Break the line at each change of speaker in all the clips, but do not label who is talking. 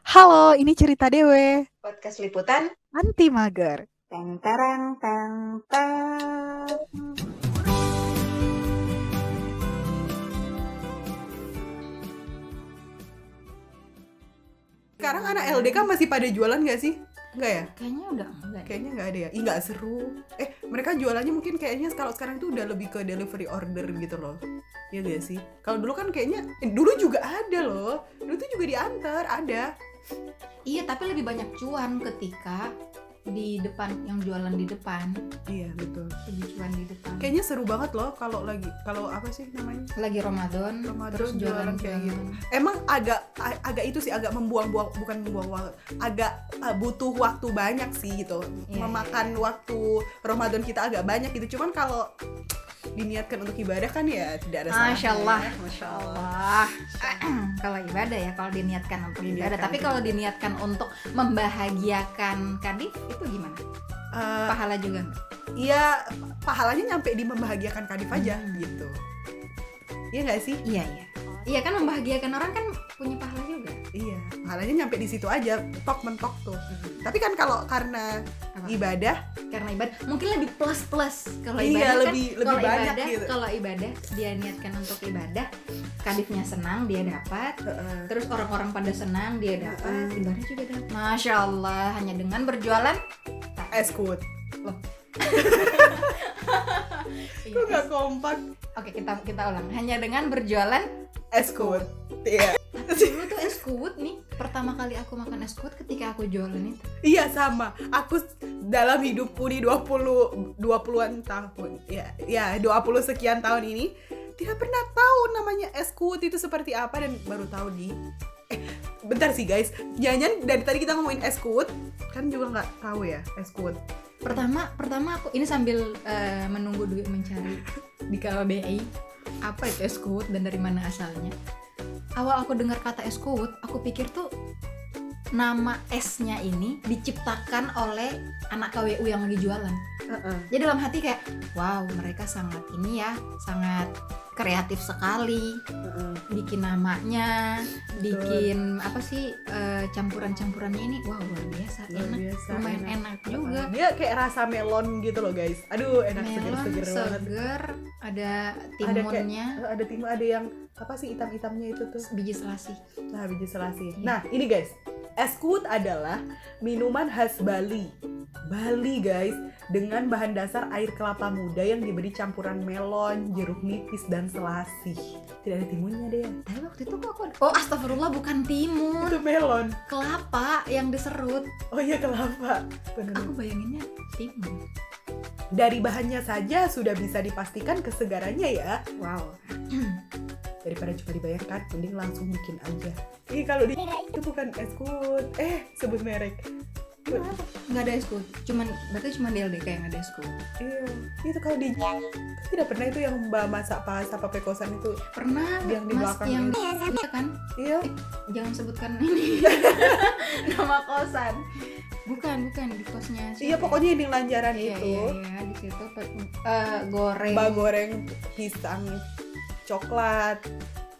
Halo, ini cerita Dewe.
Podcast liputan
Anti mager.
teng tereng teng teng.
Sekarang anak LDK masih pada jualan nggak sih? Nggak ya?
Iya. Kayaknya udah enggak.
Kayaknya nggak ada ya. Ih nggak seru. Eh mereka jualannya mungkin kayaknya kalau sekarang itu udah lebih ke delivery order gitu loh. Iya nggak sih? Kalau dulu kan kayaknya eh, dulu juga ada loh. Dulu tuh juga diantar ada.
Iya, tapi lebih banyak cuan ketika di depan yang jualan di depan,
Iya betul.
lebih cuan di depan.
Kayaknya seru banget loh kalau lagi kalau apa sih namanya?
Lagi Ramadan,
Ramadan
terus jualan,
jualan kayak
jualan.
gitu. Emang agak a- agak itu sih agak membuang-buang bukan membuang waktu, agak uh, butuh waktu banyak sih gitu.
Iya,
Memakan waktu Ramadan kita agak banyak gitu. Cuman kalau diniatkan untuk ibadah kan ya tidak ada salahnya
Masya Allah,
ya.
Masya Allah. kalau ibadah ya, kalau diniatkan untuk ibadah.
Diniatkan
Tapi
untuk
kalau diniatkan untuk membahagiakan Kadif, itu gimana?
Eh,
Pahala juga nggak?
Iya pahalanya nyampe di membahagiakan kadif aja
Hmm.
gitu. Iya nggak sih?
Iya, iya. Iya kan membahagiakan orang kan punya pahala juga.
Iya. Pahalanya nyampe di situ aja, mentok mentok tuh. Tapi kan kalau karena
Hmm. Apa?
ibadah
karena ibadah mungkin lebih plus plus kalau
Iya,
ibadah kan
lebih- lebih
kalau
banyak
ibadah
gitu.
kalau ibadah dia niatkan untuk ibadah kadifnya senang dia dapat
eh,
terus orang-orang pada senang dia dapat
Heeh.
ibadah juga dapat masya Allah hanya dengan berjualan
eh, es kut.
Iya,
Kok nggak
es-
kompak?
oke kita kita ulang hanya dengan berjualan
Es kut. Iya.
tapi dulu tuh es kuwut nih pertama kali aku makan es kuwut ketika aku jualan itu
Iya sama, aku s- dalam hidupku di 20 20-an tahun. Ya, ya 20 sekian tahun ini tidak pernah tahu namanya es kuut itu seperti apa dan baru tahu di eh bentar sih guys. Jangan dari tadi kita ngomongin es kuut kan juga nggak tahu ya es kuut.
pertama pertama aku ini sambil eh, menunggu duit mencari di KBBI apa itu es kuwut dan dari mana asalnya awal aku dengar kata es kuwut aku pikir tuh nama esnya ini diciptakan oleh anak KWU yang lagi jualan jadi dalam hati kayak wow mereka sangat ini ya sangat kreatif sekali bikin namanya bikin apa sih eh, campuran-campurannya ini wow luar biasa
Luar
enak
biasa,
lumayan
enak.
enak juga
Dia kayak rasa melon gitu loh guys. Aduh, enak
melon
seger-seger banget.
seger ada
kayak-
timunnya
Eh, Ada timun, ada yang apa sih hitam-hitamnya itu tuh?
biji selasih
Nah, biji selasih.
Iya.
Nah, ini guys, es kut adalah minuman khas Bali. Bali guys, dengan bahan dasar air kelapa muda yang diberi campuran melon, jeruk nipis, dan selasih. Tidak ada timunnya deh.
tapi waktu itu kok aku oh astagfirullah bukan timun
Itu melon.
kelapa yang diserut
Oh iya kelapa. Bener.
aku bayanginnya timun
Dari bahannya saja sudah bisa dipastikan kesegarannya ya.
wow
Daripada cuma dibayangkan, mending langsung bikin aja. Ih kalau di itu bukan es kut. Eh sebut merek. Iya.
nggak ada esku cuman berarti cuma di LDK yang ada esku
Iya, itu kalau di tidak pernah itu yang mbak masak pasta pakai kosan itu.
pernah
Yang di
mas
belakang
yang iya kan
Iya,
jangan sebutkan ini nama kosan bukan bukan di kosnya siapa
iya
ya?
pokoknya ini lanjaran
iya,
itu.
iya, iya, di situ eh, goreng
Mbak goreng pisang coklat.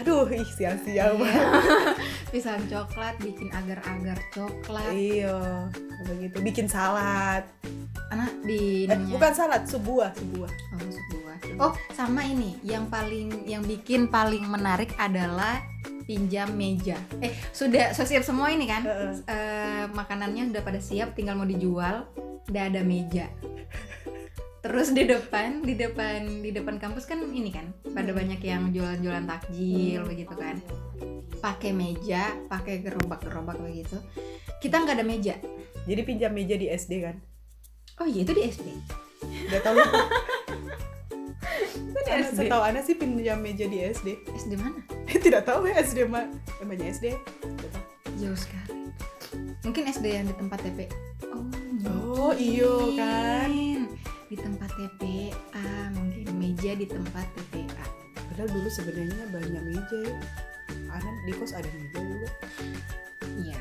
Aduh, ih sia-sia banget.
Iya. pisang coklat bikin agar-agar coklat
Iya, begitu. Bikin salad.
anak di
Eh,
ininya.
bukan salad, sebuah, sebuah.
oh, maksud gua. oh sama ini yang paling yang bikin paling menarik adalah pinjam meja eh sudah sudah siap semua ini kan
Heeh.
Eh, makanannya sudah pada siap tinggal mau dijual udah ada meja terus di depan di depan di depan kampus kan ini kan pada banyak yang jualan-jualan takjil begitu kan pakai meja pakai gerobak-gerobak begitu kita nggak ada meja
Jadi pinjam meja di SD kan.
oh iya itu di SD
Gak tau lupa. Ana-
SD.
Setahu Ana sih pinjam meja di SD.
SD mana
tidak tahu ya SD mah. Emangnya SD? Tidak tahu.
jauh sekali mungkin SD yang di tempat TP oh,
Oh, iyo kan.
mungkin. di tempat TPA mungkin meja di tempat TPA
Padahal dulu sebenarnya banyak meja ya. Anak di kos ada meja juga.
iya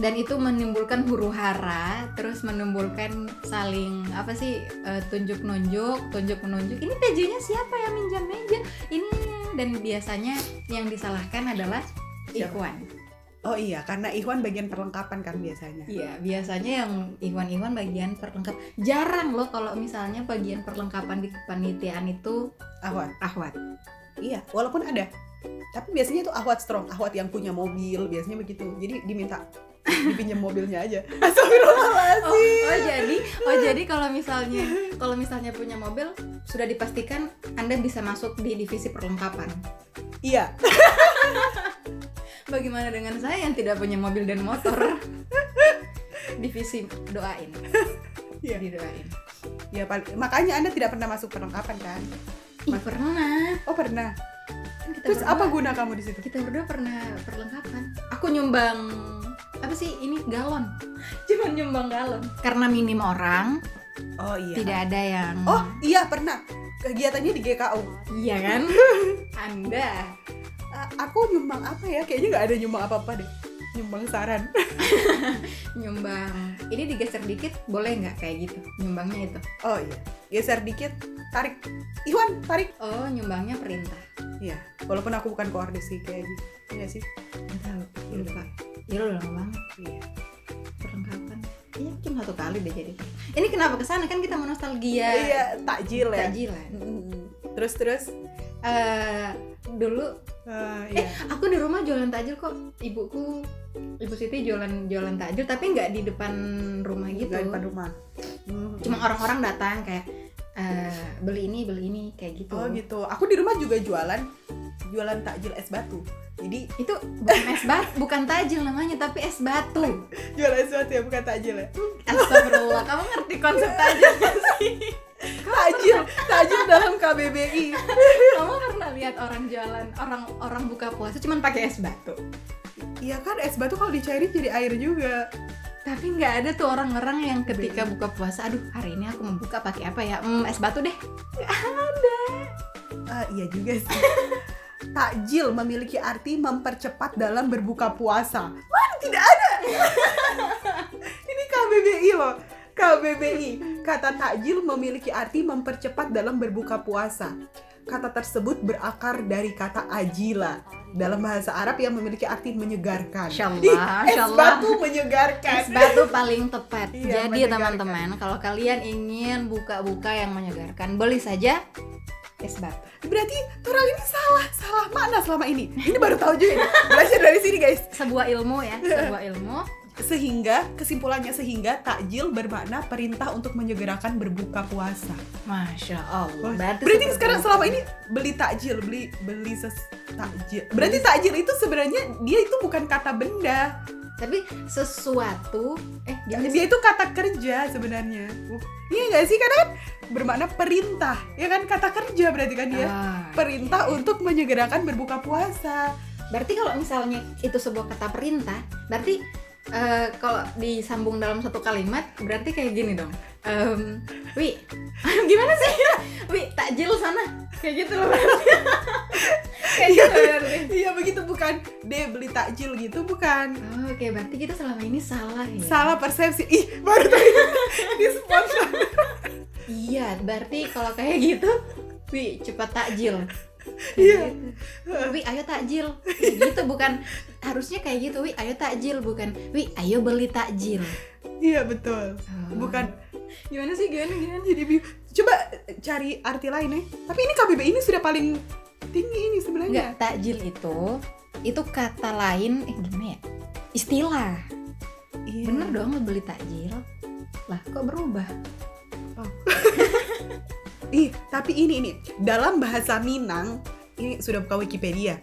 dan itu menimbulkan huru hara terus menimbulkan saling apa sih tunjuk nunjuk tunjuk menunjuk ini bajunya siapa yang minjam meja ini dan biasanya yang disalahkan adalah
Siapa?
Ikhwan
Oh iya, karena Ikhwan bagian perlengkapan kan biasanya.
Iya, biasanya yang Iwan-Iwan bagian perlengkap. Jarang loh kalau misalnya bagian perlengkapan di kepanitiaan itu
Ahwat.
ahwat.
Iya, walaupun ada. Tapi biasanya itu ahwat strong, ahwat yang punya mobil, biasanya begitu. Jadi diminta dipinjam mobilnya aja.
Oh, oh jadi, oh jadi kalau misalnya kalau misalnya punya mobil sudah dipastikan Anda bisa masuk di divisi perlengkapan.
Iya,
Bagaimana dengan saya yang tidak punya mobil dan motor? divisi doain.
Iya.
Didoain.
ya pal- makanya Anda tidak pernah masuk perlengkapan kan?
Ih, pernah.
Oh, pernah.
Kan kita
Terus
berdua-
apa guna kamu di situ?
Kita berdua pernah perlengkapan. Aku nyumbang apa sih ini galon? Cuman nyumbang galon. Karena minim orang,
Oh iya.
tidak ada yang
Oh, iya pernah. Kegiatannya di GKU.
iya kan? Anda
Eh, aku nyumbang apa ya? Kayaknya nggak ada nyumbang apa-apa deh. Nyumbang saran.
nyumbang. Ini digeser dikit boleh nggak kayak gitu? Nyumbangnya itu.
Oh iya. Geser dikit, tarik. Iwan, tarik.
Oh, nyumbangnya perintah.
Iya, walaupun aku bukan koordis sih kayaknya. Iya sih.
Nggak tahu, lupa. Ya udah lama banget
Iya.
perlengkapan. Iya cuma satu kali deh jadi. Ini kenapa kesana kan kita mau nostalgia.
Iya, takjil ya.
Tajilan.
Mm-mm. Terus terus
Eh, dulu
Eh, iya.
aku di rumah jualan takjil kok ibuku ibu siti jualan jualan takjil tapi nggak di depan rumah gitu
Nggak di depan rumah. Mm.
cuma orang-orang datang kayak eh, beli ini beli ini kayak gitu
Oh gitu. Aku di rumah juga jualan jualan takjil es batu. Jadi
itu bukan es batu bukan takjil namanya tapi es batu
jualan es batu ya bukan takjil ya.
astagfirullah kamu ngerti konsep takjil nggak sih
Takjil, takjil dalam KBBI.
kamu pernah lihat orang jualan orang orang buka puasa cuman pakai es batu
Iya kan es batu kalau dicairin jadi air juga.
tapi nggak ada tuh orang-orang yang ketika buka puasa aduh hari ini aku mau buka pakai apa ya Hmm, es batu deh
Ah, iya juga sih. Takjil memiliki arti mempercepat dalam berbuka puasa. Wah, tidak ada. Ini KBBI loh. KBBI. Kata takjil memiliki arti mempercepat dalam berbuka puasa. Kata tersebut berakar dari kata ajila dalam bahasa Arab yang memiliki arti menyegarkan.
Insyaallah,
Ih, es
insyaallah.
batu menyegarkan.
Es batu paling tepat.
Iya,
Jadi
menyegarkan.
teman-teman, kalau kalian ingin buka-buka yang menyegarkan, beli saja es batu.
Berarti Toral ini salah, salah makna selama ini. Ini baru tahu juga. Belajar dari sini, guys.
Sebuah ilmu ya,
Iya.
sebuah ilmu.
sehingga kesimpulannya sehingga takjil bermakna perintah untuk menyegerakan berbuka puasa.
Masya Allah.
Berarti,
seperti itu.
sekarang selama ini beli takjil, beli beli ses takjil. Berarti takjil itu sebenarnya dia itu bukan kata benda,
Tapi sesuatu, eh gimana sih?
dia itu kata kerja sebenarnya. Uh, Iya nggak sih karena kan bermakna perintah, ya kan kata kerja berarti kan dia
Ah,
perintah
iya.
untuk menyegerakan berbuka puasa.
Berarti kalau misalnya itu sebuah kata perintah, berarti eh, kalau disambung dalam satu kalimat, berarti kayak gini dong. Em, wi, gimana sih? Wi, takjil sana. Kayak gitu loh berarti. kayak gitu berarti.
Iya begitu bukan deh beli takjil gitu bukan.
Oh, Oke, berarti kita selama ini salah ya?
Salah persepsi. Ih, baru tadi di spontan.
Iya, berarti kalau kayak gitu, wi cepat takjil. Kayak
Iya.
gitu. Wi, ayo takjil. Kayak gitu bukan harusnya kayak gitu, wi, ayo takjil bukan. Wi, ayo beli takjil.
Iya betul.
Oh.
Bukan
Gimana sih gimana gimana?
jadi bi- coba cari arti lain ya. Tapi ini KBBI ini sudah paling tinggi ini
Enggak,
sebenarnya.
takjil itu itu kata lain eh gimana ya? Istilah.
Iya.
Bener dong lo beli takjil. Lah, kok berubah?
Oh. Ih, tapi ini ini dalam bahasa Minang ini sudah buka Wikipedia.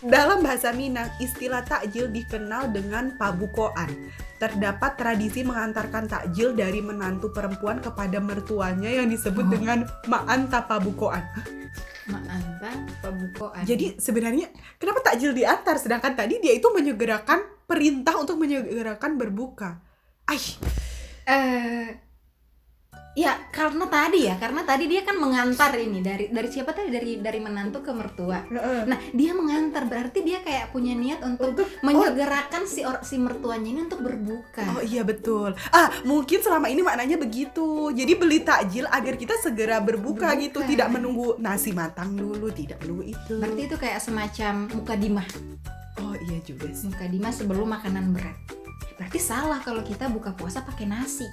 Dalam bahasa Minang, istilah takjil dikenal dengan pabukoan. Terdapat tradisi mengantarkan takjil dari menantu perempuan kepada mertuanya yang disebut
Oh.
dengan ma'anta pabukoan.
Maanta pebukoan.
Jadi sebenarnya kenapa takjil diantar sedangkan tadi dia itu menyegerakan perintah untuk menyegerakan berbuka. Aih,
eh ya karena tadi ya karena tadi dia kan mengantar ini dari dari siapa tadi dari dari menantu ke mertua nah dia mengantar berarti dia kayak punya niat untuk
untuk
menyegerakan si or, si mertuanya ini untuk berbuka
Oh iya betul. Ah, mungkin selama ini maknanya begitu. Jadi beli takjil agar kita segera berbuka
Berbuka.
gitu,
Nah.
tidak menunggu nasi matang dulu, tidak perlu itu.
berarti itu kayak semacam mukadimah
Oh iya juga sih.
Mukadimah sebelum makanan berat. Berarti salah kalau kita buka puasa pakai nasi.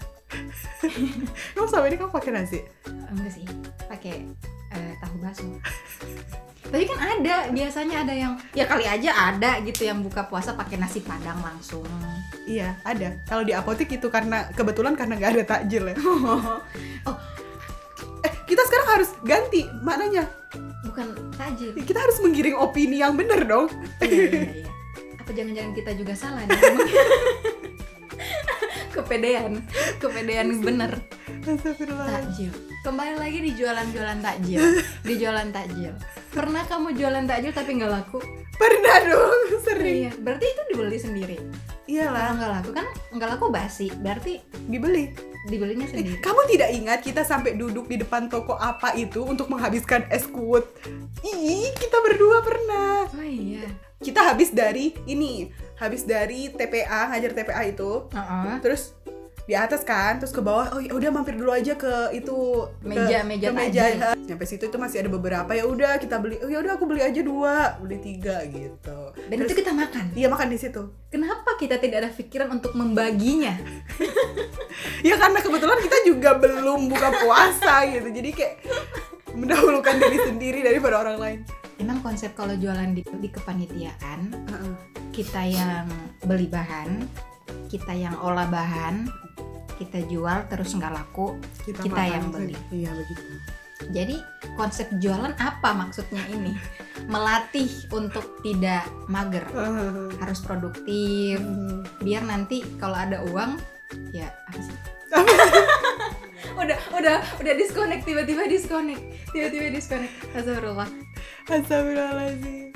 Kamu sama ini kamu pakai nasi?
Enggak sih, pakai eh, tahu bakso. Tapi kan ada, biasanya ada yang ya kali aja ada gitu yang buka puasa pakai nasi padang langsung.
Iya, ada. Kalau di apotek itu karena kebetulan karena nggak ada takjil ya.
Oh.
Eh, kita sekarang harus ganti maknanya.
Bukan tajil.
Kita harus menggiring opini yang bener dong.
iya, iya, iya. Apa jangan-jangan kita juga salah nih? kepedean, kepedean bener. takjil.
Astagfirullahaladzim.
Kembali lagi di jualan-jualan takjil, di jualan takjil. Pernah kamu jualan takjil tapi nggak laku?
Pernah dong, sering.
Iya. Berarti itu dibeli sendiri. Kalau
Iyalah,
nggak laku kan nggak laku basi, berarti
dibeli.
dibelinya
Eh,
sendiri.
kamu tidak ingat kita sampai duduk di depan toko apa itu untuk menghabiskan es kuot? Ih, kita berdua pernah.
Oh iya.
Kita habis dari ini, habis dari TPA, ngajar TPA itu.
Heeh.
terus di atas kan terus ke bawah oh ya udah mampir dulu aja ke itu ke-
Meja- meja
ke meja
tajil.
Ha. nyampe situ itu masih ada beberapa ya udah kita beli oh ya udah aku beli aja dua beli tiga gitu
Dan itu kita makan.
iya makan di situ
Kenapa kita tidak ada pikiran untuk membaginya?
ya karena kebetulan kita juga belum buka puasa gitu jadi kayak mendahulukan diri sendiri daripada orang lain
Emang konsep kalau jualan di, di kepanitiaan
Heeh.
kita yang beli bahan, kita yang olah bahan, kita jual terus nggak laku. Kita
makan
yang
itu.
beli.
iya begitu
Jadi konsep jualan apa maksudnya ini? Melatih untuk tidak mager,
Heeh. Hmm.
harus produktif, biar nanti kalau ada uang ya apa sih? udah udah udah disconnect tiba-tiba disconnect tiba-tiba disconnect astagfirullah
Astagfirullahaladzim